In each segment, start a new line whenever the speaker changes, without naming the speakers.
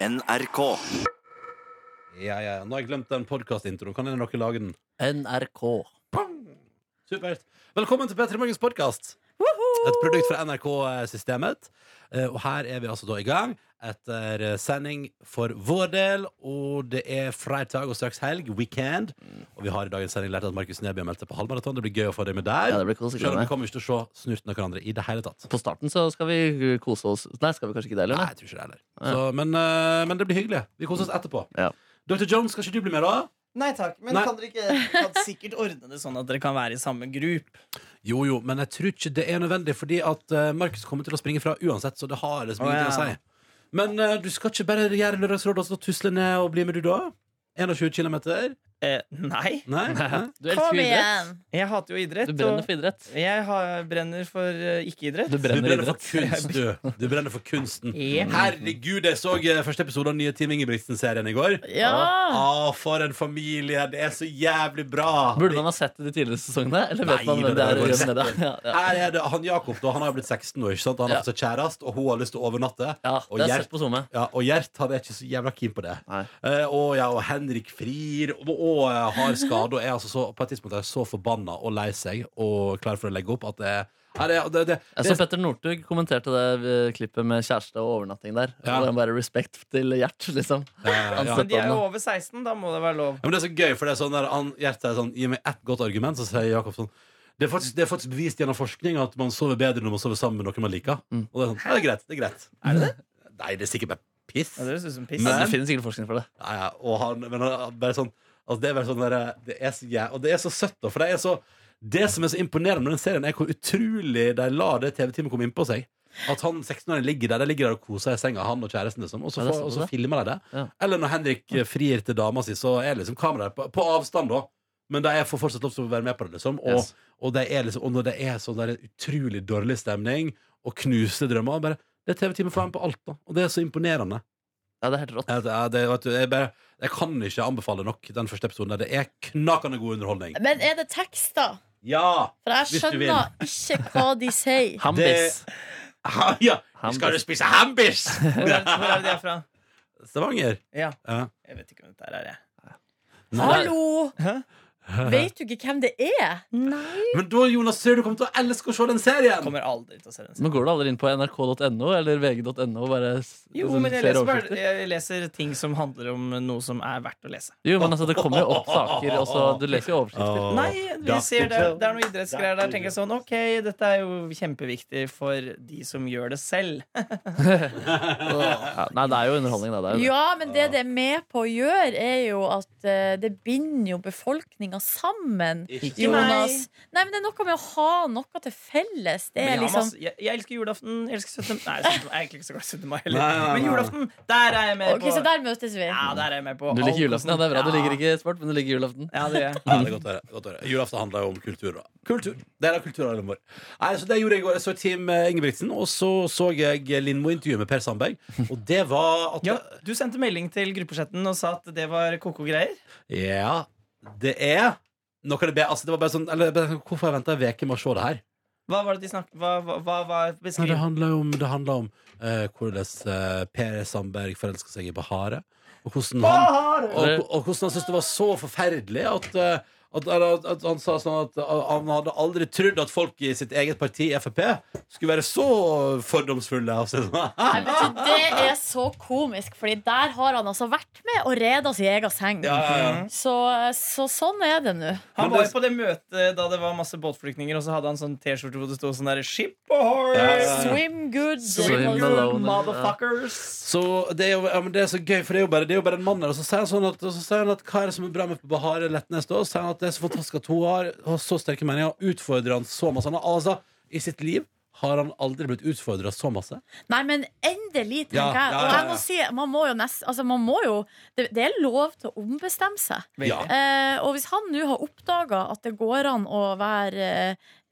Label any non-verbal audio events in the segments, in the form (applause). NRK.
Ja, ja, Nå har jeg glemt den podkastintroen. Kan dere lage den?
NRK.
Supert. Velkommen til P3 Morgens podkast. Et produkt fra NRK-systemet. Eh, Og her er vi altså da i gang etter eh, sending for vår del. Og det er fredag og straks helg. Weekend. Og vi har i dagens sending lært at Markus Neby har meldt seg på halvmaraton. Det blir gøy å få deg med der.
Ja, det blir koselig
Selv om
med.
vi kommer ikke til å se snurten av hverandre i det hele tatt.
På starten så skal vi kose oss Nei, skal vi kanskje ikke det heller?
Nei,
nei?
jeg tror ikke det heller. Så, men, eh, men det blir hyggelig. Vi koser oss etterpå.
Ja.
Dr. Jones, skal ikke du bli med, da?
Nei takk. Men
Nei.
kan dere ikke kan sikkert ordne det sånn at dere kan være i samme gruppe?
Jo, jo, men jeg tror ikke det er nødvendig, fordi at eh, Markus kommer til å springe fra uansett, så det har liksom
Å,
ingenting å
ja.
si. Men eh, du skal ikke bare gjøre Lørdagsrådet og så tusle ned og bli med, du, da? 21 km?
Eh, nei.
Nei? Hæ?
Du elsker
Kom
jo
igjen!
idrett.
Jeg hater jo idrett.
Du brenner
og
for idrett.
jeg har, brenner for eh, ikke-idrett.
Du
Du
brenner
brenner for
idrett.
kunst, du. Du brenner for kunsten.
Ja.
Herregud, jeg så eh, første episode av nye Team Ingebrigtsen-serien i går.
Ja!
Ah, for en familie! Det er så jævlig bra!
Burde man ha sett det de tidligere sesongene? Eller vet
Nei,
man
men
hvem det
det
er?
var bare
og hvem det er? Ja, ja.
Her er det han Jakob, da. Han har jo blitt 16 nå, ikke sant? Han har
Ja.
fått seg kjæreste, og hun har lyst til å overnatte.
ja,
og
det er
Gjert-
sett på SoMe.
Ja, og Gjert han er ikke så jævla keen på det.
Nei.
Eh, og, ja, og Henrik Frier og, og eh, har skade og er altså så, på et tidspunkt er så forbanna og lei seg og klar for å legge opp at det er det, det, det,
Jeg
det,
så Petter Northug kommenterte det eh, klippet med kjæreste og overnatting der.
Ja.
Og det er bare respekt til Gjert, liksom.
eh, ja.
Men de er jo over 16, da må det være lov.
Ja, men det er så gøy, for det er sånn der han, Gjert er sånn, gi meg ett godt argument, så sier Jakob sånn det er, faktisk, det er faktisk bevist gjennom forskning at man sover bedre når man sover sammen med noen man liker.
Mm.
Og det er sånn, ja, det er greit, det er greit. Er det det? Nei, det er sikkert bare piss.
Ja, det høres ut som piss.
Men det finnes sikkert forskning for det.
Ja, ja, og han, men han, bare sånn altså Det er bare sånn der, det er så, jæ- Og det er så søtt da, for det er så Det som er så imponerende med den serien er hvor utrolig De lar det TV-teamet komme inn på seg At han 16-åringen ligger der, de ligger der og koser seg i senga Han og kjæresten liksom, og så,
Ja, det er
får- og så
sånn det.
filmer de det
Ja.
Eller når Henrik eh, frier til dama si Så er liksom kameraet på, på avstand da men de får fortsatt lov til å være med på det liksom. og,
Yes.
og, det er liksom, og når det er sånn der utrolig dårlig stemning Og knuste drømmer bare, Det er TV-teamet får være med på alt da Og det er så imponerende
Ja, det er helt rått.
ja, det, er- det, vet du, jeg, bare, jeg kan ikke anbefale nok den første episoden. Der. Det er knakende god underholdning.
Men er det tekster?
Ja!
For jeg
Hvis du vil.
skjønner ikke hva de sier.
(laughs)
Hambis.
Ha, ja.
Hambis.
Skal du spise hambis? (laughs)
Hvor er, hvor er det de er fra?
Stavanger.
Ja.
Ja.
Jeg vet ikke hvem dette her er. jeg.
Hallo!
Hæ?
Vet du ikke hvem det er? Nei.
Men da Jonas, ser du kommer til å elske å se den serien!
Kommer aldri til å se den.
Men går du aldri inn på nrk.no eller vg.no og bare s-
Jo,
liksom
men jeg
ser
leser,
overskrifter?
bare, jeg leser ting som handler om noe som er verdt å lese.
Jo, men altså, det kommer jo opp saker, og så du leser jo overskrifter.
Åh,
Nei, vi
Dr.
ser det,
Jones.
det er noen idrettsgreier der. Tenker jeg sånn, ok, Dette er jo kjempeviktig for de som gjør det selv.
Ja, nei, det er jo underholdning, da. Det er jo det.
Ja, men det det er med på å gjøre, er jo at eh, det binder jo befolkninga sammen.
Ikke
Jo,
sant?
Jonas. Nei, men det er noe med å ha noe til felles. Det
Men
er
jeg, har
liksom
masse, jeg, jeg elsker julaften. Jeg elsker 17. Nei, 17. jeg er egentlig ikke så glad i 17. mai heller.
Nei, nei, nei.
Men julaften, der er jeg
eh,
med
Ok,
på.
så der møtes vi.
Ja, der er jeg med på
Du
alt
liker julaften, ja. Det er bra. Du
Ja.
liker ikke sport, men du liker julaften.
Ja, det gjør jeg.
Ja, det er godt å høre. godt å høre. Julaften handler jo om kultur. Da. Kultur. Det er da kulturarven vår. Nei, så det gjorde jeg i går. Jeg så Team eh, Ingebrigtsen, og så så jeg Lindmo intervjue med Per Sandberg. Og det var at
Ja, du sendte melding til gruppechatten og sa at det var koko greier.
Ja, det er noe av det, be- altså det var bare sånn, eller, bare sånn, Hvorfor har jeg venta ei uke med å se det her?
Hva var det de snakket Hva, hva, hva var
Nei, det
beskrivelsen?
handla om, det handler om eh, hvordan eh, Per Sandberg forelska seg i Bahare. Og hvordan han, og, og hvordan han syntes det var så forferdelig at, eh, at, at, at han sa sånn at eh, han hadde aldri trodd at folk i sitt eget parti, Frp, skulle være så fordomsfulle. Og så, (laughs)
Nei, vet du, det er så komisk, Fordi der har han altså vært med og reda sin egen seng.
ja, ja, ja.
Så, så sånn er det nå.
Han
Men
var
det-
jo på det møtet da det var masse båtflyktninger, og så hadde han sånn T-skjorte hvor det sto sånn derre Ship ahoy!
Swim good,
Swim
mother-
alone.
Motherfuckers!
Så det er, jo, ja, men det er så gøy, for det er jo bare, det er jo bare en mann der. Og så sier han sånn at, og så sier han at hva er det som er bra med Bahare Letnes? da? Og så sier han at det er så fantastisk at hun har, har så sterke meninger, og utfordrer han så masse. Han har, altså, I sitt liv har han aldri blitt utfordra så masse.
Nei, men endelig,
Ja,
tenker jeg.
ja,
Og
ja,
jeg må
ja.
si, man må jo nest, altså, man må jo, det, det er lov til å ombestemme seg.
Ja.
Eh, og hvis han nå har oppdaga at det går an å være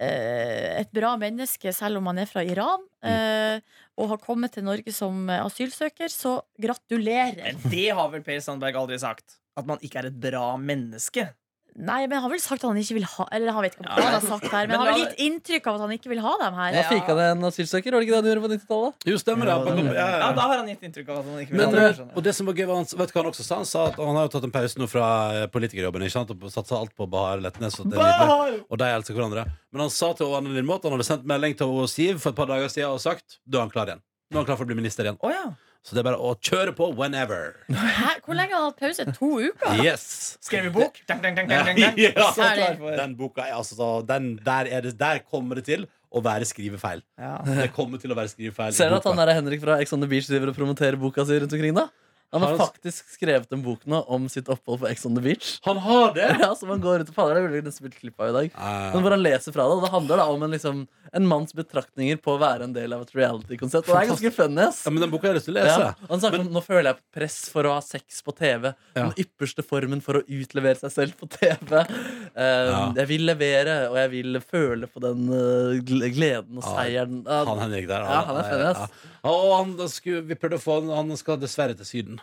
eh, et bra menneske selv om man er fra Iran, eh, og har kommet til Norge som asylsøker, så gratulerer.
Men det har vel Per Sandberg aldri sagt? At man ikke er et bra menneske?
Nei, men han har vel sagt at han ikke vil ha Eller han vet ikke om
Ja,
hva han
men-
har sagt her, men
men
han
la-
har vel gitt inntrykk av at han ikke vil ha dem her.
Ja.
Da fika det en asylsøker, var det ikke det han gjorde på 90-tallet?
Jo, stemmer
Ja,
det.
det
Ja, ja,
Ja,
ja.
da har han gitt inntrykk av at han ikke vil
Men,
ha det.
eh, og det som var gøy var han, Vet du hva han også sa? Han sa at han har jo tatt en pause nå fra eh, politikerjobben ikke sant? og satsa alt på Bahar Letnes. Og, det er nydelig.
Bahar!
og de elsker hverandre. Men han sa til Anne Lindmo at han hadde sendt melding til henne og Siv for et par dager siden og sagt da er han klar igjen. Nå er han klar for å bli minister igjen.
Å ja.
Så det er bare å kjøre på whenever.
Hæ? Hvor lenge har han hatt pause? To uker?
Yes!
Skrev i bok. Dang, dang, dang, dang, dang, dang.
Ja.
Så klar for
Den boka er altså så- den, der, er det, der kommer det til å være skrivefeil.
ja.
Det kommer til å være skrivefeil. i
Ser dere at
boka.
han der Henrik fra Ex on the Beach driver og promoterer boka si rundt omkring, da? Han
Har
har
han-
faktisk skrevet en bok nå om sitt opphold på Ex on the Beach. (laughs)
han har det!
Ja, som han går rundt og faller. Jeg ville nesten blitt klipp av i dag.
Eh,
Men hvor han leser fra det, og det handler da om en, liksom, en manns betraktninger på å være en del av et reality-konsept. Og det er ganske funny, ass.
ja, men den boka har jeg lyst til å lese.
Ja. Han snakker om nå føler jeg på press for å ha sex på TV.
Altså. Ja.
Den ypperste formen for å utlevere seg selv på TV. Eh,
Ja.
Jeg vil levere, og jeg vil føle på den eh, gle- gleden og
Ja,
seieren.
Han Henrik der. ah,
Ja, han er funny, ass.
Ja. Og han, da skulle, vi prøvde å få han Han skal dessverre til Syden.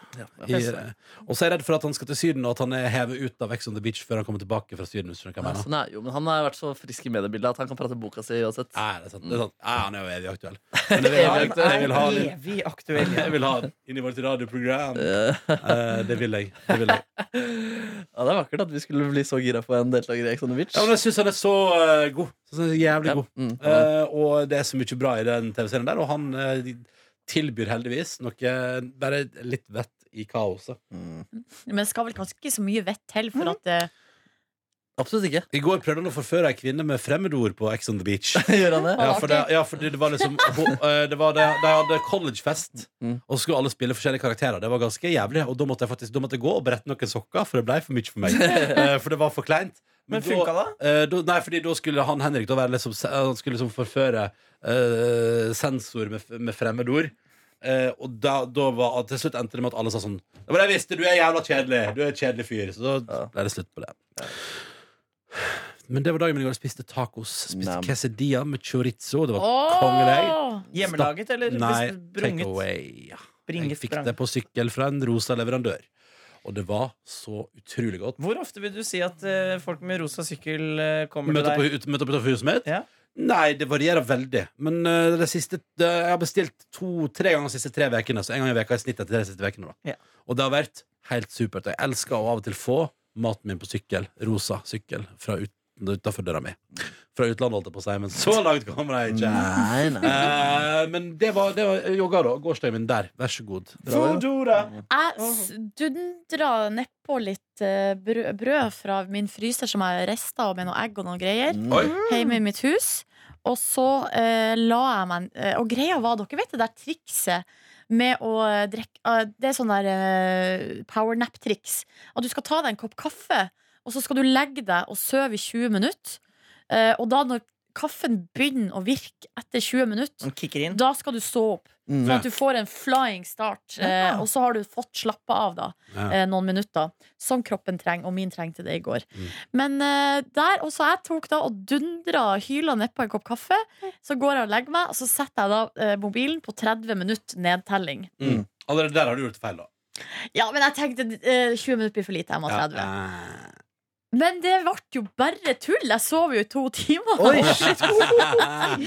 I, eh, og så er jeg redd for at han skal til Syden, og at han er hevet ut av Ex on the Beach før han kommer tilbake fra Syden. Hvis du skjønner hva jeg
Ja,
mener.
sånn er det jo, men han har vært så frisk i mediebildet at han kan prate boka si uansett.
Ja, det er sant, det er sant. Ja, han er jo evig
(laughs)
aktuell. Men det vil jeg,
Han
jeg, jeg vil ha
er
han inn-
evig aktuell.
jeg vil ha han inn i vårt radioprogram. Eh, det vil jeg. Det vil jeg.
Ja, Det er vakkert at vi skulle bli så gira på en deltaker i Ex on the Beach.
Ja, men jeg syns han er så eh, god. Jeg synes han er jævlig
Ja,
god.
mm.
Eh, og det er så mye bra i den TV-serien der, og han eh, tilbyr heldigvis noe Bare litt vett i kaoset.
Men det skal vel kanskje ikke så mye vett til for at eh, det
Absolutt ikke. (laughs)
I går prøvde han å forføre ei kvinne med fremmedord på Ex on the Beach.
Gjør han det?
Ja, for det, ja, fordi det var liksom hun- eh, det var det, De hadde collegefest,
Mm.
og så skulle alle spille forskjellige karakterer. Det var ganske jævlig, og da måtte jeg faktisk da måtte jeg gå og brette noen sokker, for det ble for mye for
(laughs)
meg. Eh, for det var for kleint.
Men
da-
funka det?
eh, da, nei, fordi da skulle han Henrik da være liksom, han skulle liksom forføre eh, sensor med, med fremmedord. Eh, og da, da var, til slutt endte det med at alle sa sånn Det var det jeg visste, du er jævla kjedelig. Du er en kjedelig fyr. Så da
Ja.
ble det slutt på det. Men det var dagen min i går. Jeg Spiste tacos. Spiste
Nam.
quesadilla med chorizo. Det var
Åh!
kongelig.
Hjemmelaget eller
Nei, take
brunget?
away. Ja. Jeg
Bringet
fikk
sprang.
det på sykkel fra en rosa leverandør. Og det var så utrolig godt.
Hvor ofte vil du si at eh, folk med rosa sykkel eh, kommer
Møte
til
på,
deg?
ut- møte på utenfor huset mitt?
Ja.
Nei, det varierer veldig. Men eh, det siste, det- jeg har bestilt to-tre ganger de siste tre ukene. Så en gang i veka i snitt etter de siste ukene. da.
Ja.
Og det har vært helt supert. Jeg elsker å av og til få maten min på sykkel. Rosa sykkel fra ut, utafor døra mi. Fra utlandet, holdt jeg på å si, men så langt kommer jeg ikke.
Nei, nei.
Eh, men det var, det var jogga, da. Gårsdagen min der. Vær så god.
Foodora!
Jeg s- dundra nedpå litt eh, brød, brød fra min fryser som jeg rista, og med noe egg og noen greier,
Mm.
Oi.
hjemme i mitt hus. Og så eh, la jeg meg eh, Og greia var, dere vet det der trikset med å eh, drikke eh, Det er sånn der eh, powernap-triks. At du skal ta deg en kopp kaffe, og så skal du legge deg og sove i 20 minutter. Eh, og da når kaffen begynner å virke etter 20 minutter,
Han kicker inn.
da skal du stå opp.
Mm.
Sånn at du får en flying start, eh,
Ja.
og så har du fått slappa av da
Ja.
eh, noen minutter. Som kroppen trenger, og min trengte det i går.
Mm.
Men eh, der, og så jeg tok da og dundra hyla nedpå en kopp kaffe. Så går jeg og legger meg, og så setter jeg da eh, mobilen på 30 minutt nedtelling.
Mm. Allerede der har du gjort feil, da.
Ja, men jeg tenkte eh, 20 minutter blir for lite, jeg må ha 30.
Ja.
Men det ble jo bare tull! Jeg sov jo i to timer. (laughs)
Oi, shit.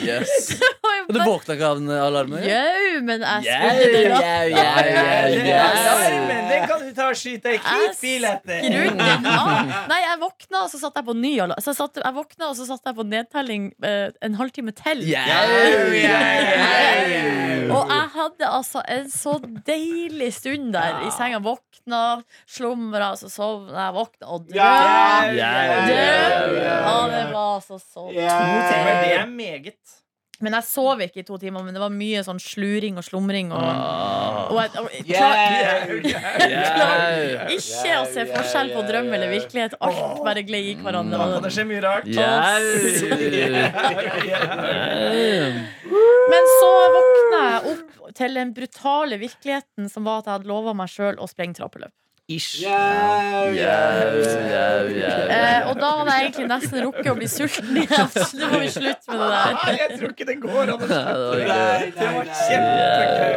Yes.
Det var jo
Og Du
bare-
våkna ikke av den alarmen? eller?
Jau, men jeg skrudde det
Jau,
opp.
jau, jau, jau, jau.
Alarmen, Den kan du ta og skyte ei hvit bil etter!
Skrur den av. Nei, jeg våkna, og så satt jeg på ny alarm. Så jeg, satt, jeg våkna, og så satt jeg på nedtelling eh, en halvtime til.
Jau, jau, jau.
Og jeg hadde altså en så deilig stund der i senga. Våkna, slumra, så sovna jeg, våkna og drøm.
Jau, jau, jau.
Ja, det var altså så
To timer, det er meget.
Men jeg sov ikke i to timer, men det var mye sånn sluring og slumring. Og,
Ah.
og, jeg- og, klar,
Jau.
ikke å se forskjell på drøm eller virkelighet. Alt bare gled i
Da kan
hverandre.
det skje mye rart.
Jau.
Men så våkna jeg opp til den brutale virkeligheten som var at jeg hadde lova meg sjøl å sprenge trappeløp.
Ish.
Eh, Jau, jau, jau.
Eh, og da hadde jeg egentlig nesten rukket å bli sulten igjen. Så Det var jo slutt med det der.
Nei, jeg tror ikke det går an å
Ja, det var gøy.
Det var kjempegøy.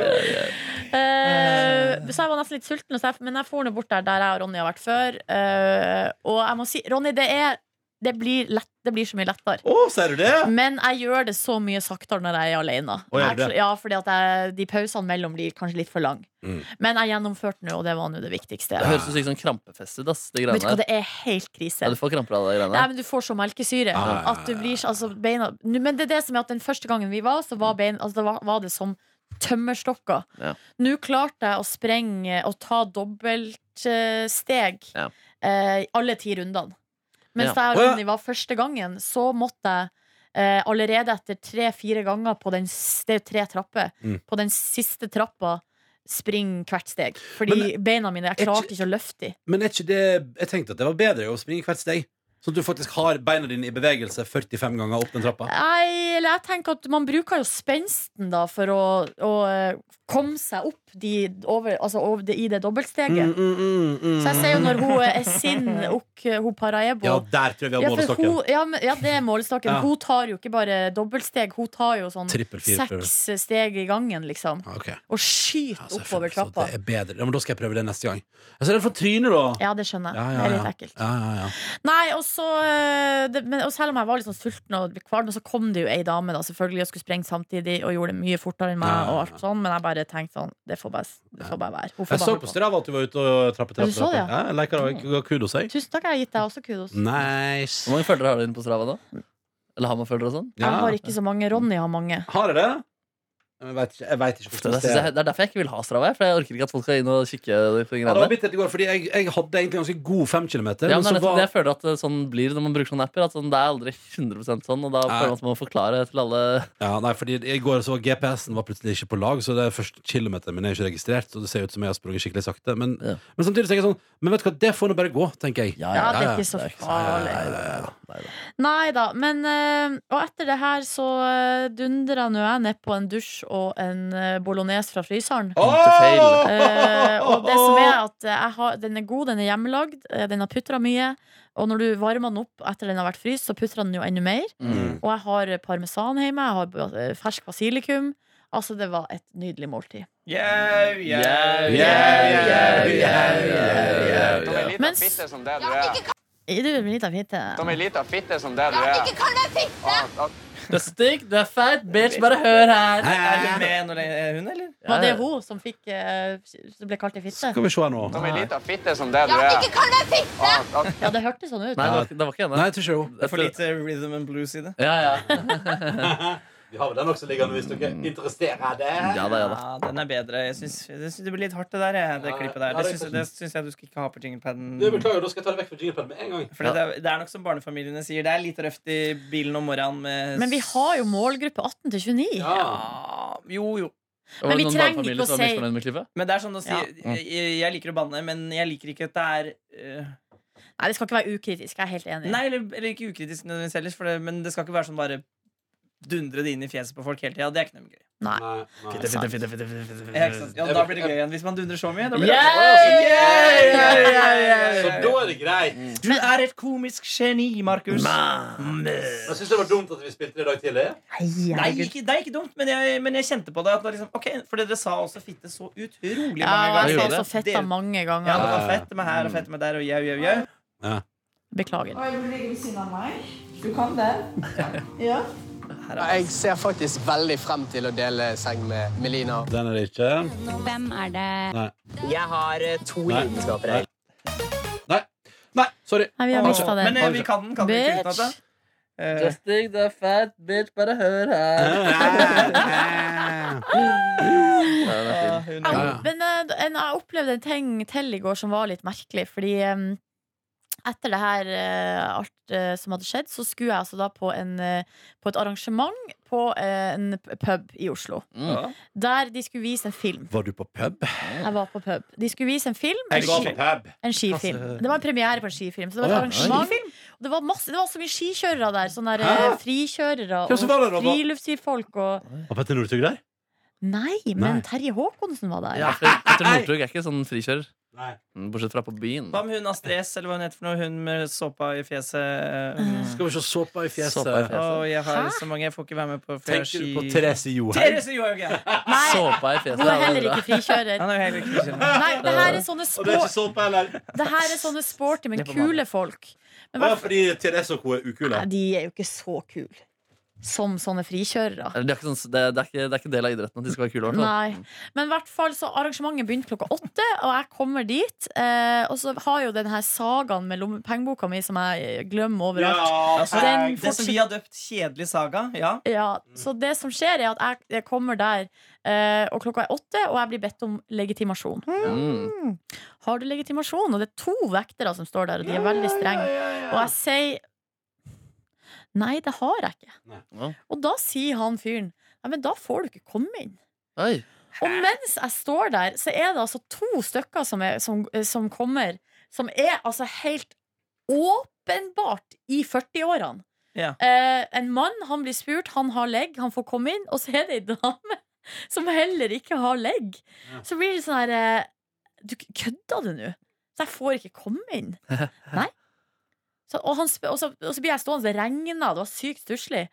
Eh, så jeg var nesten litt sulten, og så jeg, men jeg for nå bort der der jeg og Ronny har vært før. eh, og jeg må si, Ronny, det, er, det, blir lett, det blir så mye lettere.
Å, ser du det?
Men jeg gjør det så mye saktere når jeg er alene.
Å, gjør du
Jeg-
det?
ja, fordi at jeg, de pausene mellom blir kanskje litt for lang
Mm.
Men jeg gjennomførte nå, og det var nå det viktigste.
Det høres ut som sånn krampefest ut, ass. Det
Vet
greiene
du hva,
der.
det er helt krise.
Ja, du får kramper av de greiene
Nei,
der.
men Du får så melkesyre
Ja, ja, ja, ja.
at du blir så- altså, beina Nå, Men det er det som er at den første gangen vi var, så var, bein, altså, det var, var det som tømmerstokker.
Mm. Ja.
Nå klarte jeg å sprenge og ta dobbeltsteg
Ja.
eh, i alle ti rundene. Mens
Ja.
Å,
jeg og
ja.
Ronny var første gangen, så måtte jeg eh, allerede etter tre-fire ganger på den, s- Det er jo tre trapper.
Mm.
På den siste trappa springe hvert steg. Fordi beina mine Jeg
er
klarte
ikke-
ikke å løfte dem.
Men er ikke det Jeg tenkte at det var bedre å springe hvert steg. Sånn at du faktisk har beina dine i bevegelse 45 ganger opp den trappa.
Nei, eller jeg tenker at man bruker jo spensten da for å, å eh, komme seg opp de over, altså over det, i det dobbeltsteget.
Mm.
Så jeg ser jo når hun er sin og hun Paraebo
Ja, der tror jeg vi har
Ja, for
målestokken.
hun, ja, men, ja, det er målestokken.
Ja.
Hun tar jo ikke bare dobbeltsteg, hun tar jo sånn
Trippel fire.
seks steg i gangen, liksom.
Ja, ok.
Og skyter
Ja, selvfølgelig.
oppover
Så
trappa.
Det er bedre. Ja, men da skal jeg prøve det neste gang. Jeg ser det fra trynet, da.
Ja, det skjønner jeg.
Ja,
Det
ja,
er
ja.
litt ekkelt.
Ja, ja, ja.
Nei, og så eh, det, men, Og selv om jeg var litt sånn sulten og kvalm, så kom det jo ei dame da selvfølgelig og skulle sprenge samtidig og gjorde det mye fortere enn meg,
Ja,
og
ja,
alt sånn men jeg bare tenkte sånn Det får bare, det får bare være. Hun får
Jeg
bare
så
holde
på
på.
Strava at du var ute og trappe
Ja,
trappe.
du så det, ja.
ja. jeg liker det. Jeg ga kudos, jeg.
Tusen takk, jeg har gitt deg også kudos.
Nice.
Hvor mange følgere har du inne på Strava, da? Eller har man følgere og sånn?
Ja.
Jeg har ikke så mange. Ronny har mange.
Har jeg det? Jeg vet ikke, jeg vet ikke
Det,
hvordan
synes
det
jeg,
er.
det er derfor jeg ikke vil ha Strava. jeg, For jeg orker ikke at folk skal inn og kikke på de
Ja, det var
greiene.
bittert i går, fordi jeg, jeg hadde egentlig ganske god fem kilometer.
Ja, men det
men
er
så
nettopp det
var
jeg føler at det sånn blir når man bruker sånne apper. At sånn, det er aldri 100 sånn, og da
Nei.
føler man at man må forklare til alle
ja, Nei, fordi i går så var GPS-en var plutselig ikke på lag, så det er første kilometeren min er ikke registrert. Så det ser ut som jeg har sprunget skikkelig sakte. Men,
Ja.
men samtidig tenker jeg sånn Men vet du hva, det får nå bare gå, tenker jeg.
Ja, det
ja,
er ikke så
Nei,
farlig.
nei, nei,
Nei da. Men eh, Og etter det her så eh, dundra nå jeg nedpå en dusj og en eh, bolognese fra fryseren.
Interfail.
Eh, og det som er at eh, jeg har, Den er god, den er hjemmelagd, eh, den har putra mye. Og når du varmer den opp etter den har vært fryst, så putrer den jo enda mer.
Mm.
Og jeg har eh, parmesan hjemme, jeg har eh, fersk basilikum. Altså, det var et nydelig måltid.
Jau, jau,
Jau,
jau, jau,
jau, jau.
De er lite
Men s-
fitte som det du er.
Er Du en liten fitte.
De er lite fitte som det du er. At- at-
Du er stygg, du er feit, bitch, bare hør her!
Er hun med når det er hun, eller?
Var det hun som fikk, eh, som ble kalt ei fitte?
Skal vi se her nå.
De er lite fitte som det du er. At- at-
Ja, det hørtes sånn ut.
Nei, det var, ikke- det var ikke henne.
Nei, jeg tror ikke det.
Det er for lite rhythm and blues i det.
Ja, ja.
Vi har vel den også liggende hvis dere interesserer deg.
(laughs) ja da, ja da.
Ja, den er bedre. Jeg syns, jeg syns det blir litt hardt, det der. jeg, Det
Ja,
klippet
ja,
der. Det
det er
syns, det syns jeg du skal ikke ha på jinglepaden.
Beklager, da skal jeg ta det vekk fra jinglepaden med en gang.
For det, er- det er nok som barnefamiliene sier. Det er litt røft i bilen om morgenen med
Men vi har jo målgruppe 18 til 29.
Ja, Jo, jo.
Var det
vi
noen
trenger
barnefamilier
ikke å
som var
si-
misfornøyd med klippet?
Men det er sånn å si
Ja.
jeg, jeg liker å banne, men jeg liker ikke at det er eh,
Nei, det skal ikke være ukritisk. Jeg er helt enig.
Nei, eller, eller ikke ukritisk nødvendigvis ellers, for det, men det skal ikke være sånn bare dundre det inn i fjeset på folk hele tida. Det er ikke noe gøy.
Nei. Altså,
Nei,
sant.
Ja, ikke sant? ja, da blir det gøy igjen. Hvis man dundrer så mye. Da blir det
Yeah!
Yeah, yeah, yeah, yeah, yeah.
er det greit.
Du er et komisk geni,
Jeg
Markus.
syns det var dumt at vi spilte det i dag tidlig.
Nei,
herregud.
ikke, det er ikke dumt, men jeg, men jeg kjente på det. At det var liksom, ok, for dere sa også fitte så utrolig mange
Ja, jeg
ganger.
sa
gjorde
også fetta
Dere-
mange
ja, det
ganger.
var fett med her og fett med der og jau, jau, jau.
Beklager.
Vil du ligge ved siden av meg? Du kan det. Ja.
Jeg ser faktisk veldig frem til å dele seng med Melina.
Den er det ikke.
Hvem er det?
Nei.
Jeg har eh, to
Nei.
lidenskaper
Nei. Nei. Nei, sorry.
Nei, vi har mista
Men
den.
eh, vi kan den, kan vi ikke utenat.
Bitch.
Du
Uh,
er stygg, du er feit, bitch, bare hør her. Ja, den er fin.
hun,
Ja, ja.
Men eh, en- jeg opplevde en ting til i går som var litt merkelig, fordi eh, etter det her eh, alt eh, som hadde skjedd, så skulle jeg altså da på, en, eh, på et arrangement på eh, en pub i Oslo.
Mm.
Der de skulle vise en film.
(laughs) Var du på pub?
Jeg var på pub. De skulle vise en film.
Jeg
en
går på
ski-
pub.
En skifilm.
Passe-
Det var en premiere på en skifilm. Så det var
Å,
et
ja.
arrangement. Og det var, masse, det var så mye skikjørere der. Sånne der,
Hæ?
eh, frikjørere
Hvem som var der
og
da?
friluftsfolk og
Var Petter Northug der?
Nei,
Nei.
men Terje Håkonsen var der.
Ja, for jeg tror Northug er ikke sånn frikjører.
Nei.
Mm, Bortsett fra på byen.
Hva med hun Astrid S, eller hva hun heter for noe? Hun med såpa i fjeset. eh,
Skal vi se såpa i fjeset.
Såpa i fjeset.
Å, jeg har
Mm. Hæ?
så mange jeg får ikke være med på. for jeg har
Tenker du på
ski-
Therese Johaug?
Therese Johaug, ja!
(laughs) Nei,
Såpa i fjeset.
hun er
ja, det
heller
er bra.
ikke frikjører.
Han er jo heller ikke skjønner.
Nei, det her er sånne,
Og det er ikke
spor,
såpe heller.
det her er sånne sporty, men
Det er på
kule folk. Men
Bare
hvertfall-
fordi Therese og co. er ukule.
Nei, de er jo ikke så kule som sånne frikjørere.
Eller, Det er, ikke sånn, det, er, det, er ikke, det er ikke del av idretten at de skal være kule. i hvert fall.
Nei. Men i hvert fall så arrangementet begynte klokka åtte, og jeg kommer dit. Eh, og så har jo den her sagaen med lommepengeboka mi som jeg eh, glemmer overalt.
Altså,
Den
det som vi har døpt 'Kjedelig saga', ja.
Ja, så det som skjer, er at jeg, jeg kommer der, eh, og klokka er åtte, og jeg blir bedt om legitimasjon.
Mm.
Har du legitimasjon? Og det er to vektere som står der, og de er veldig strenge. Og jeg sier Nei, det har jeg ikke.
Nei.
Og da sier han fyren Nei, men da får du ikke komme inn.
Oi.
Og mens jeg står der, så er det altså to stykker som, er, som, som kommer, som er altså helt åpenbart i 40-årene.
Ja.
Eh, en mann, han blir spurt, han har legg, han får komme inn, og så er det ei dame som heller ikke har legg.
Ja.
Så blir det sånn her eh, Du kødda du nå? Så jeg får ikke komme inn? Nei. Så, og, han spør, og, så, og så blir jeg stående, det regna, det var sykt stusslig.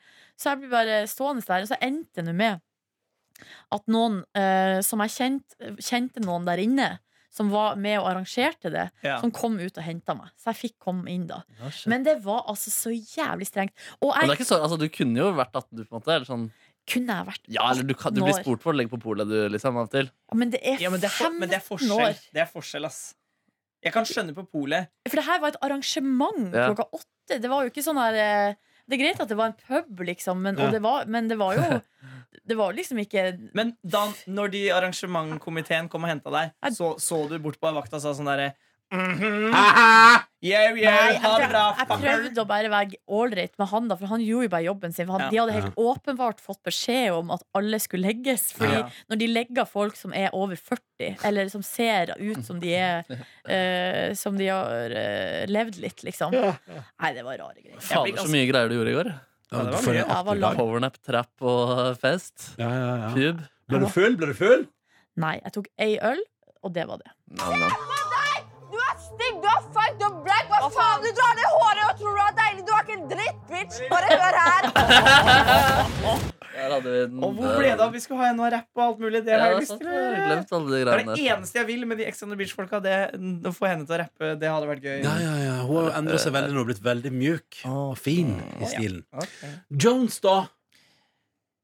Så jeg blir bare stående der, og så endte det nå med at noen eh, som jeg kjente, kjente noen der inne, som var med og arrangerte det,
Ja.
som kom ut og henta meg. Så jeg fikk komme inn da.
Ja, shit.
Men det var altså så jævlig strengt. Og
Men det
jeg
er ikke så, altså, du kunne jo vært 18, du, på en måte. Eller sånn,
kunne jeg vært
ja, eller du, kan, du
18
blir
år.
spurt for å legge på polet, du, liksom, av og til.
Ja, Men det er
ja men, det er for, men det er
15
forskjell.
år.
Det er forskjell, ass. Jeg kan skjønne på polet.
For det her var et arrangement
Ja.
klokka åtte. Det var jo ikke sånn her eh, Det er greit at det var en pub, liksom, men,
Ja.
og det var, men det var jo
(laughs)
Det var liksom ikke
Men da når de i arrangementkomiteen kom og henta deg, så, så du bort på vakta og sa sånn derre Yeah,
Nei,
yeah,
jeg,
ha det bra,
prøv- jeg
fucker.
prøvde å bare være ålreit med han, da, for han gjorde jo bare jobben sin. For han, De hadde helt åpenbart fått beskjed om at alle skulle legges. Fordi
Ja.
når de legger folk som er over 40, eller som ser ut som de
(laughs)
er eh, Som de har eh, levd litt, liksom. Nei, det var rare
Jeg
greier.
blir
Fader, så
ganske-
mye greier du gjorde i går.
Ja, det var
For en
mye.
Jeg var
artig
lang.
dag.
Powernap, trap og fest.
Ja, ja, ja.
Pub.
Ble du full? Ble du full?
Nei, jeg tok ei øl, og det var det.
Nam, nam.
Du er stygg, du er feig, du er black. Hva faen? Du drar ned håret og tror du er deilig. Du er ikke en dritt, bitch. Bare hør her.
Der hadde vi den. eh,
Og hvor ble det av? Vi skulle ha en og rapp og alt mulig. Det
Ja,
har
det
jeg
er
lyst
sant,
til.
jeg har glemt alle de
Det er
greiene
det eneste jeg vil med de Ex on the Beach-folka. Det, å få henne til å rappe, det hadde vært gøy.
Ja, ja, ja. Hun har jo endra seg veldig nå og blitt veldig mjuk og fin i stilen. Jones, da?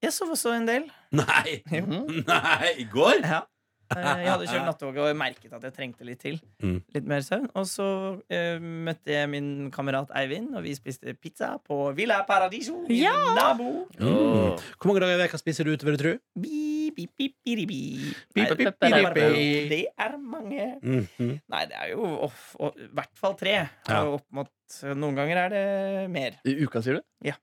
Jeg sov også en del.
Nei! Nei, i går?
Ja. Eh, Jeg hadde kjørt nattoget og merket at jeg trengte litt til.
Mm.
Litt mer søvn. Og så eh, møtte jeg min kamerat Eivind, og vi spiste pizza på Villa Paradiso. i
Ja!
Nabo.
Mm. Hvor mange dager i veka spiser du ute, vil du tro?
Bi, bi, bi, biri, bi.
Bi, bi, bi,
Nei,
biri, bi.
Det er mange.
Mhm.
Nei, det er jo off- og- i hvert fall tre.
Ja.
Og Opp mot, noen ganger er det mer.
I uka, sier du?
Ja.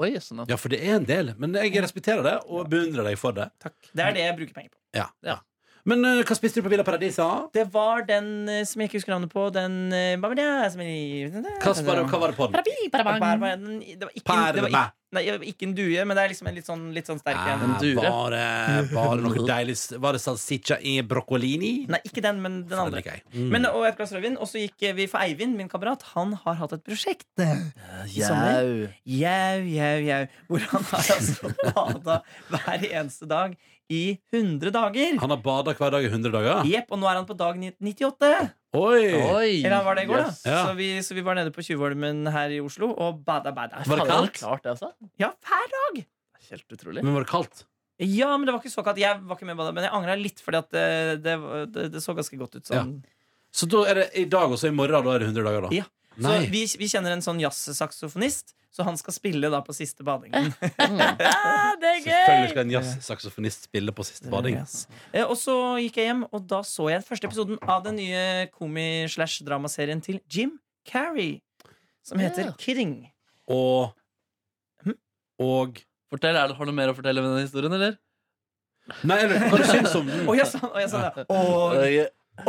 Oi, jøssen. da.
Ja, for det er en del. Men jeg respekterer det, og beundrer deg for det.
Takk. Det er det jeg bruker penger på.
Ja, ja. Men eh, hva spiste du på Villa Paradisa?
Det var den eh, som jeg ikke husker navnet på. Den eh, hva var det? Som jeg-
Kasper, og hva var det på den?
Parabi, parabang.
Bær
(laughs)
var den- Eh, Det var ikke, det var
Perme.
ikke, nei, det var ikke en due, men det er liksom en litt sånn, litt sånn sterk en.
Eh,
dure.
Var det, var det
(laughs)
noe deilig s- Var det salsiccia i broccolini?
Nei, ikke den, men den
Den
andre.
liker jeg. Mm.
Men, eh, og et glass rødvin. Og så gikk eh, vi for Eivind, min kamerat. Han har hatt et prosjekt.
Jau.
Jau, jau, jau. Hvor han har altså bada hver eneste dag i 100 dager.
Han har bada hver dag i 100 dager?
Jepp, og nå er han på dag 98.
Oi!
Oi.
Eller han var det i går, da.
Jøss.
Ja.
Så, vi, så vi var nede på Tjuvholmen her i Oslo og bada, bada.
Var det
Fader,
kaldt?
Klart, det, altså.
Ja, hver dag!
Helt utrolig.
Men var det kaldt?
Ja, men det var ikke så kaldt. Jeg var ikke med på det, men jeg angra litt, fordi at det, det, det, det så ganske godt ut sånn.
Så da er det i dag og så i morgen da er det 100 dager, da?
Ja. Så
Nei.
vi, vi kjenner en sånn jazzsaksofonist, så han skal spille da på siste badingen.
Ah, det er
Selvfølgelig
gøy!
skal en jazzsaksofonist spille på siste (laughs) bading.
Yes. Eh, Og så gikk jeg hjem, og da så jeg første episoden av den nye komi-slash-dramaserien til Jim Carrey, som heter
Ja.
Kidding.
Og
Hm?
Og
Fortell, er det, Har du mer å fortelle med den historien, eller?
Nei, eller hva du syns om den? (laughs)
Og jeg sa, og jeg sa det. Og,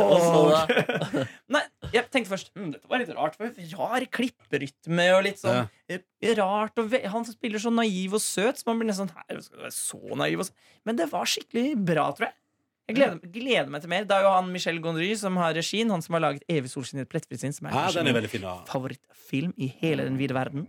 Og, og,
og (laughs) Nei, jeg tenkte tenkte først hm, dette var litt rart. for Rar klipperytme og litt sånn eh, rart. Og ve han spiller så naiv og søt, så man blir nesten sånn her, skal du være så naiv og så? Men det var skikkelig bra, tror jeg. Jeg gleder, gleder meg til mer. Det er jo han Michel Gondry som har regien. Han som har laget 'Evig solskinn i et plettfritt sinn', som er
Ja,
kanskje
den er
min
veldig fin. da
favorittfilm i hele den vide verden.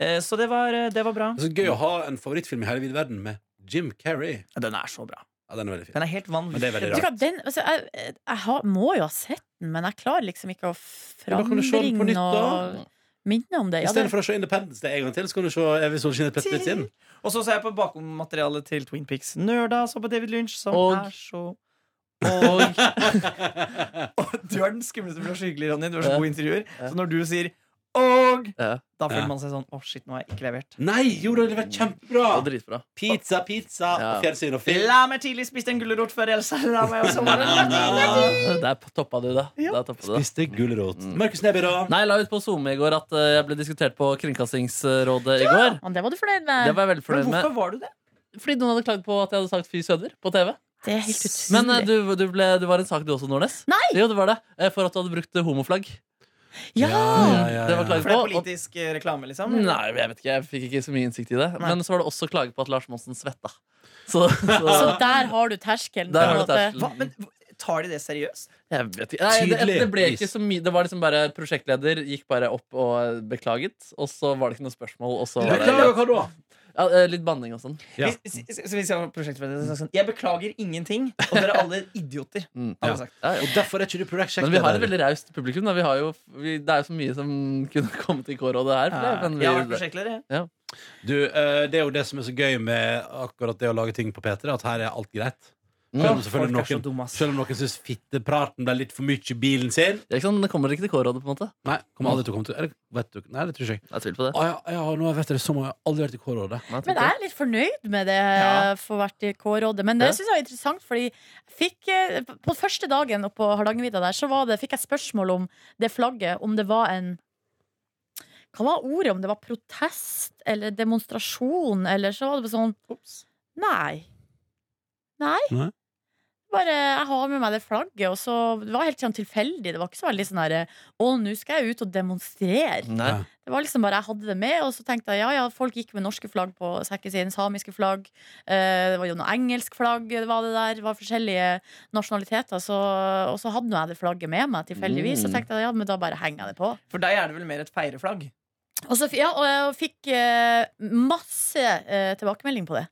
Eh, Så det var, eh, det var bra.
Det er så gøy å ha en favorittfilm i hele vide verden med Jim Carrey.
Ja, Den er så bra.
Ja, den er veldig fin.
Den er helt
Men det er veldig
vanvittig.
Vet
bra.
du hva, den, altså, jeg jeg har, må jo ha sett den, men jeg klarer liksom ikke å
da kan du se den på nytt,
frambringe
da.
og minne om det.
I
Ja,
stedet
det
for å se Independence Day en gang til, så kan du se Evig solskinn i et plettfritt sinn.
Og så så jeg på bakommaterialet til Twin Pics Nerda, så på David Lynch, som
Og-
er så og, (laughs) og du er den skumleste, for du er så hyggelig, Ronny. Du har så
Ja.
gode intervjuer. Så når du sier 'og',
Ja.
da føler
Ja.
man seg sånn 'Å, shit, nå har jeg ikke levert'.
Nei, jo, det hadde vært kjempebra!
Det var dritbra.
Pizza, pizza
Ja.
og fjernsyn og film.
La meg tidlig spise en gulrot før Elsa la meg også være
Ja, Der toppa du det.
Ja.
Der toppa du det.
Spiste gulrot. Markus Neby, da?
Nei, jeg la ut på SoMe i går at eh, jeg ble diskutert på Kringkastingsrådet i går.
Og det var du fornøyd
Det
med.
var jeg veldig
Men
fornøyd med.
hvorfor var du det?
Fordi noen hadde klagd på at jeg hadde sagt fy søder på TV.
Det er helt utrolig.
Men eh, du, du, ble, du var en sak du også, Nordnes.
Nei!
Jo, det var det. Eh, For at du hadde brukt eh, homoflagg.
ja!
Det var klagd
For det
på.
er
og-
politisk eh, reklame, liksom?
Nei, jeg vet ikke. Jeg fikk ikke så mye innsikt i det.
Nei.
Men så var det også klage på at Lars Monsen svetta. Så, så,
Så der har du terskelen.
der har
på
du
en måte.
Hva?
terskelen.
Men hva- tar de det seriøst?
Jeg vet ikke. Nei, det, det ble ikke så mye. Det var liksom bare prosjektleder gikk bare opp og beklaget, og så var det ikke noe spørsmål, og så var det
Beklager, hva da?
ja, eh, litt banning og sånn.
Ja.
Hvis- s- s- hvis jeg var prosjektforvalter, så sa jeg sånn, Jeg beklager ingenting, og dere er alle idioter.
Mm.
Har jeg sagt.
Ja, ja.
Og derfor er ikke du
Men vi har
prosjektleder.
et veldig raust publikum. Da. Vi har jo, vi, det er jo så mye som (laughs) kunne kommet i K-rådet her. For det, men vi,
Jeg har vært prosjektleder, jeg.
Du, eh, det er jo det som er så gøy med akkurat det å lage ting på P3, at her er alt greit. Selv om
Mm.
selvfølgelig
Folk er så
noen,
dumme, ass.
selv om noen syns fittepraten ble litt for mye i bilen sin.
det, er ikke sånn, det kommer ikke til K-rådet, på en måte.
Nei, kommer aldri til å komme til Eller vet du Nei, det tror ikke jeg.
Jeg tviler på det.
Å, ja, ja, nå vet jeg det som om jeg har aldri vært i K-rådet.
Nei, jeg
Men
tviler
jeg
på det.
er litt fornøyd med det
Ja.
for å ha vært i K-rådet. Men det
Ja.
synes jeg var interessant, fordi jeg fikk eh, På første dagen oppe på Hardangervidda der, så var det, fikk jeg spørsmål om det flagget, om det var en Hva var ordet? Om det var protest eller demonstrasjon, eller så var det sånn Nei. Nei.
Nei.
Bare, jeg har med meg det flagget, og så Det var helt sånn tilfeldig. Det var ikke så veldig sånn herre Å, nå skal jeg ut og demonstrere.
Nei.
Det var liksom bare, Jeg hadde det med, og så tenkte jeg ja, ja, folk gikk med norske flagg på sekken sin. Samiske flagg. Eh, det var jo noe engelsk flagg. Det var det der, det var forskjellige nasjonaliteter. Så, og så hadde nå jeg det flagget med meg tilfeldigvis. Så
Mm.
tenkte jeg ja, men da bare henger jeg det på.
For deg er det vel mer et feireflagg?
Og så f- ja, og jeg fikk eh, masse eh, tilbakemelding på det.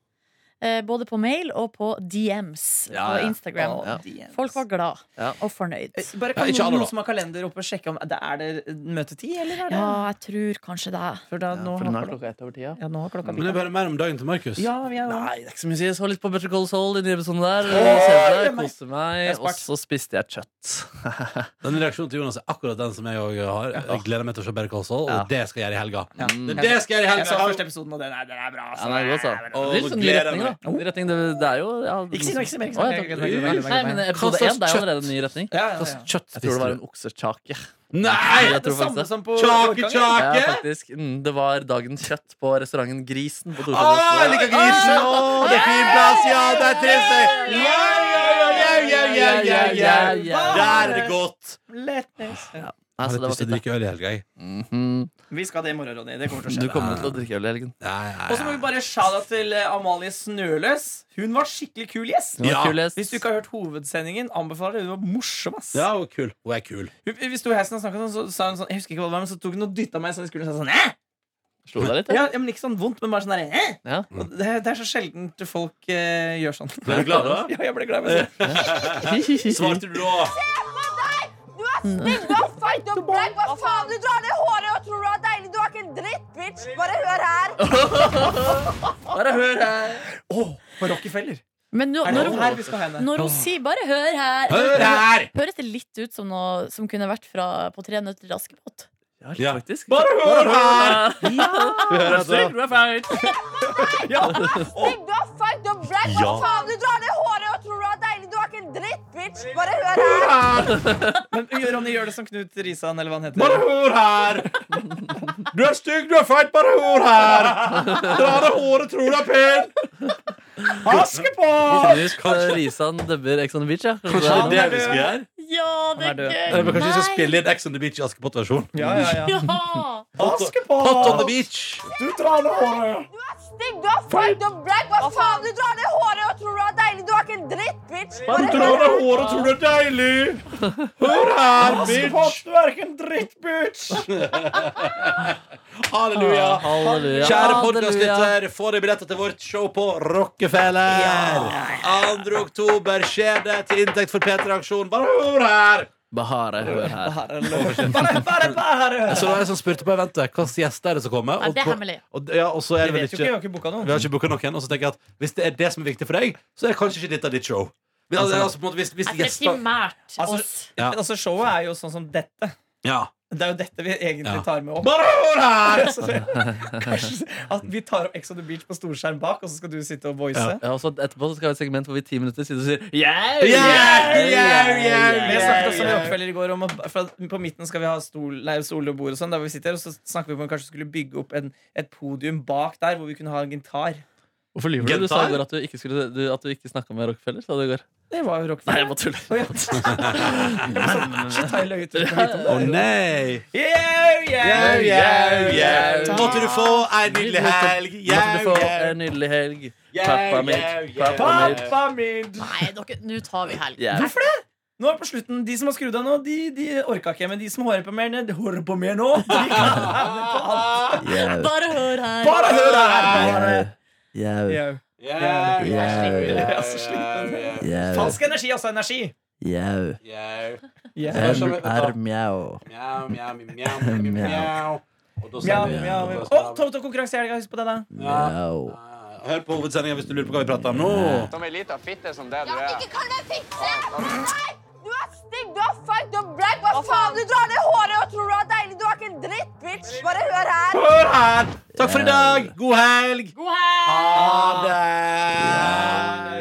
Eh, både på mail og på DMs
Ja,
på
ja.
Instagram.
Ja.
Folk var glad
Ja.
og fornøyd.
Eh, Bare
Ja,
kan
ikke alle,
noen,
da.
noen som har kalender oppe og sjekke om det Er det møtetid, eller er det
Ja, jeg tror kanskje det.
For da, nå,
Ja, for
har
nå er
klokka,
klokka ett over tida.
ja, nå har klokka
Men det er bare mer om dagen til Markus.
Ja, vi er jo
Nei, det er ikke så mye å si. Jeg så litt på Better Call Saul i den episoden der.
det
Kjente,
er meg.
koste meg.
Jeg er
Og
smart.
så spiste jeg kjøtt.
Den reaksjonen til Jonas er akkurat den som jeg òg har. Jeg gleder meg til å se Better Call Saul,
Ja.
og det skal jeg gjøre i helga.
Ja.
Mm. Det, det skal jeg gjøre i
Jeg så
helga!
første episoden, og den er, den er bra.
Ja, den er god, så.
Åh,
Det
den er bra.
er litt
nå
sånn ny
gleder jeg
retning, da.
meg.
Ny retning, det, det er jo ja,
Ikke si noe, ikke si mer.
Å, jeg tar- Nei, men episode
Hva slags
én det er jo
kjøtt?
allerede en ny retning.
Ja, ja,
Hva
ja.
slags kjøtt
Jeg tror det
spiste
var
du?
en oksekjake.
Nei!
Jeg tror
det samme
faktisk det.
som på
Kjake,
Ja,
kjake!
faktisk. Mm, det var dagens kjøtt på restauranten Grisen. På
Å,
Ah,
jeg
Torshov.
liker grisen! Å, det er fin plass! Ja, det er trivsel! Ja, ja, ja, ja, ja, ja, ja, ja, ja. Der er det godt!
Letnes.
Nei, så det var fint, da.
drikke øl i helga, jeg.
Mhm.
Vi skal det i morgen, Ronny. Det kommer til å
Du
skje.
kommer til å drikke øl i helgen.
Nei, nei,
Og så må vi bare shout til eh, Amalie Snøløs. Hun var skikkelig kul gjest.
Det var
Ja.
kul gjest.
Hvis du ikke har hørt hovedsendingen, anbefaler jeg det. Hun var morsom, ass.
Ja, hun er kul. Hun er kul.
Hun- Vi sto i heisen og snakket sånn, så sa hun sånn Jeg husker ikke hva det var, men så tok hun og dytta meg sånn i skulderen og sa sånn Æ!
Slo deg litt,
Ja, ja, men ikke sånn vondt, men bare sånn der, Æ!
Ja.
Og det, det er så sjeldent folk eh, gjør sånn.
Ble du glad da?
(laughs) Ja, jeg ble glad i meg selv.
Svarte du da?
Du er stygg, du er feit, du er blek, hva faen? Du drar ned håret og tror du er deilig. Du er ikke en dritt, bitch. Bare hør her.
Bare hør her. Å, på Rockefeller.
Men nå,
Er det
når,
sånn her vi skal ha henne?
hun, når hun sier 'bare hør her'
Hør her!
Høres det litt ut som noe som kunne vært fra På tre nøtter til Askepott?
Ja, litt
Ja.
faktisk.
Bare hør her!
Ja. Stygg, du er feit.
Stygg, du er feit, du er blek, hva
Ja.
faen? Du drar ned håret og tror du er deilig. Du er ikke en dritt, bitch. Bare hør her.
Men Ronny gjør det som Knut Risan, eller hva han
Bare
heter.
hør her! Du er stygg, du er feit, bare hør her! Dra deg håret, tror du er pen! Askepott!
Knut Risan dubber Ex on the Beach, ja.
Kanskje det
det
er det vi skal gjøre?
Ja, det
Han er
er
død.
gøy.
Eh, Men kanskje vi skal
Nei.
spille inn Ex on the Beach i Askepott-versjon?
Ja, ja,
(laughs)
ja.
Ja.
Hot on the
Askepott!
beach!
Du drar ned håret!
Du er stygg, du er feit, du er black. Hva faen? Du drar ned håret og tror du er deilig. Du er ikke en dritt, bitch. Bare hør her.
håret, tror du er deilig! Hør her,
Askepott, du er ikke en drittbitch!
Halleluja!
Halleluja.
Kjære podkastlytter, få deg billetter til vårt show på Rockefeller! 2. oktober skjer det til inntekt for P3-aksjonen. Bare hør her!
Bahare, hør her.
Bare, bare, bare!
Så det var jeg som spurte på eventet hvilke gjester er det som kommer.
Nei, det er
på-
hemmelig.
Og, ja, og så er
Jeg
det vel
vet jo ikke, jeg
ikke
har ikke booka
Vi har
noen.
ikke booka noen. Og så tenker jeg at hvis det er det som er viktig for deg, så er kanskje ikke dette ditt show. Men, altså, altså, på en måte, hvis, hvis
Jeg tror det er
gjester
primært
Altså-
oss.
Ja.
Men altså, showet er jo sånn som dette.
ja.
Det er jo dette vi
Ja.
egentlig tar
(laughs)
med opp.
Bare hør her!
Kanskje at vi tar opp Ex on the Beach på storskjerm bak, og så skal du sitte og voice.
Ja.
Ja, og så etterpå så skal vi ha et segment hvor vi ti minutter sitter og sier yeah,
Yeah, yeah, yeah,
Men Jeg snakket også med
yeah.
oppfølger i går om at fra, på midten skal vi ha stol, nei, stol og bord og sånn, der hvor vi sitter, og så snakker vi om vi kanskje skulle bygge opp en, et podium bak der hvor vi kunne ha en gitar.
Hvorfor lyver du? Du sa
Gentar?
i går at du ikke, skulle- du- at du ikke snakka med Rockefeller. Sa du i går.
Det var jo rock.
Nei, jeg bare tuller.
Å, ja. Jeg ble sånn, Shit, har jeg løyet uten å vite om
Å (laughs)
det?
nei!
Yeah, yeah, yeah, yeah.
Måtte du få ei nydelig helg.
Måtte du få en nydelig helg. Pappa mitt. Pappa mitt.
Pappa min!
Nei, dere, nå tar vi helg.
Yeah.
Hvorfor det? Nå er det på slutten, De som har skrudd av nå, de, de orka ikke. Men de som hører på mer, nå, de hører på mer nå. De kan være med på alt.
Bare hør her.
Bare hør her!
Yeah.
Yeah.
Yeah,
Yeah,
Jeg er så sliten. Falsk energi, altså. Energi.
Yeah.
yeah.
Yeah.
Hør som-
mjau.
Mjau, mjau, mjau, mjau, mjau. Og da
Mjau,
sier vi-
mjau, mjau.
da
Å,
sier vi-
Toto-konkurranse i helga. Husk på det, da.
Ja.
Hør på hovedsendinga hvis du lurer på hva vi prater om nå.
Som ei lita fitte som det du
Ja,
er.
ikke kall meg fitte! Nei! Du er stygg, du er feit, du er black. Hva faen? Du drar ned håret og tror du er deilig. Du er ikke en dritt, bitch. Bare hør her.
Hør her! Takk for i dag. God helg.
God helg!
Ha det.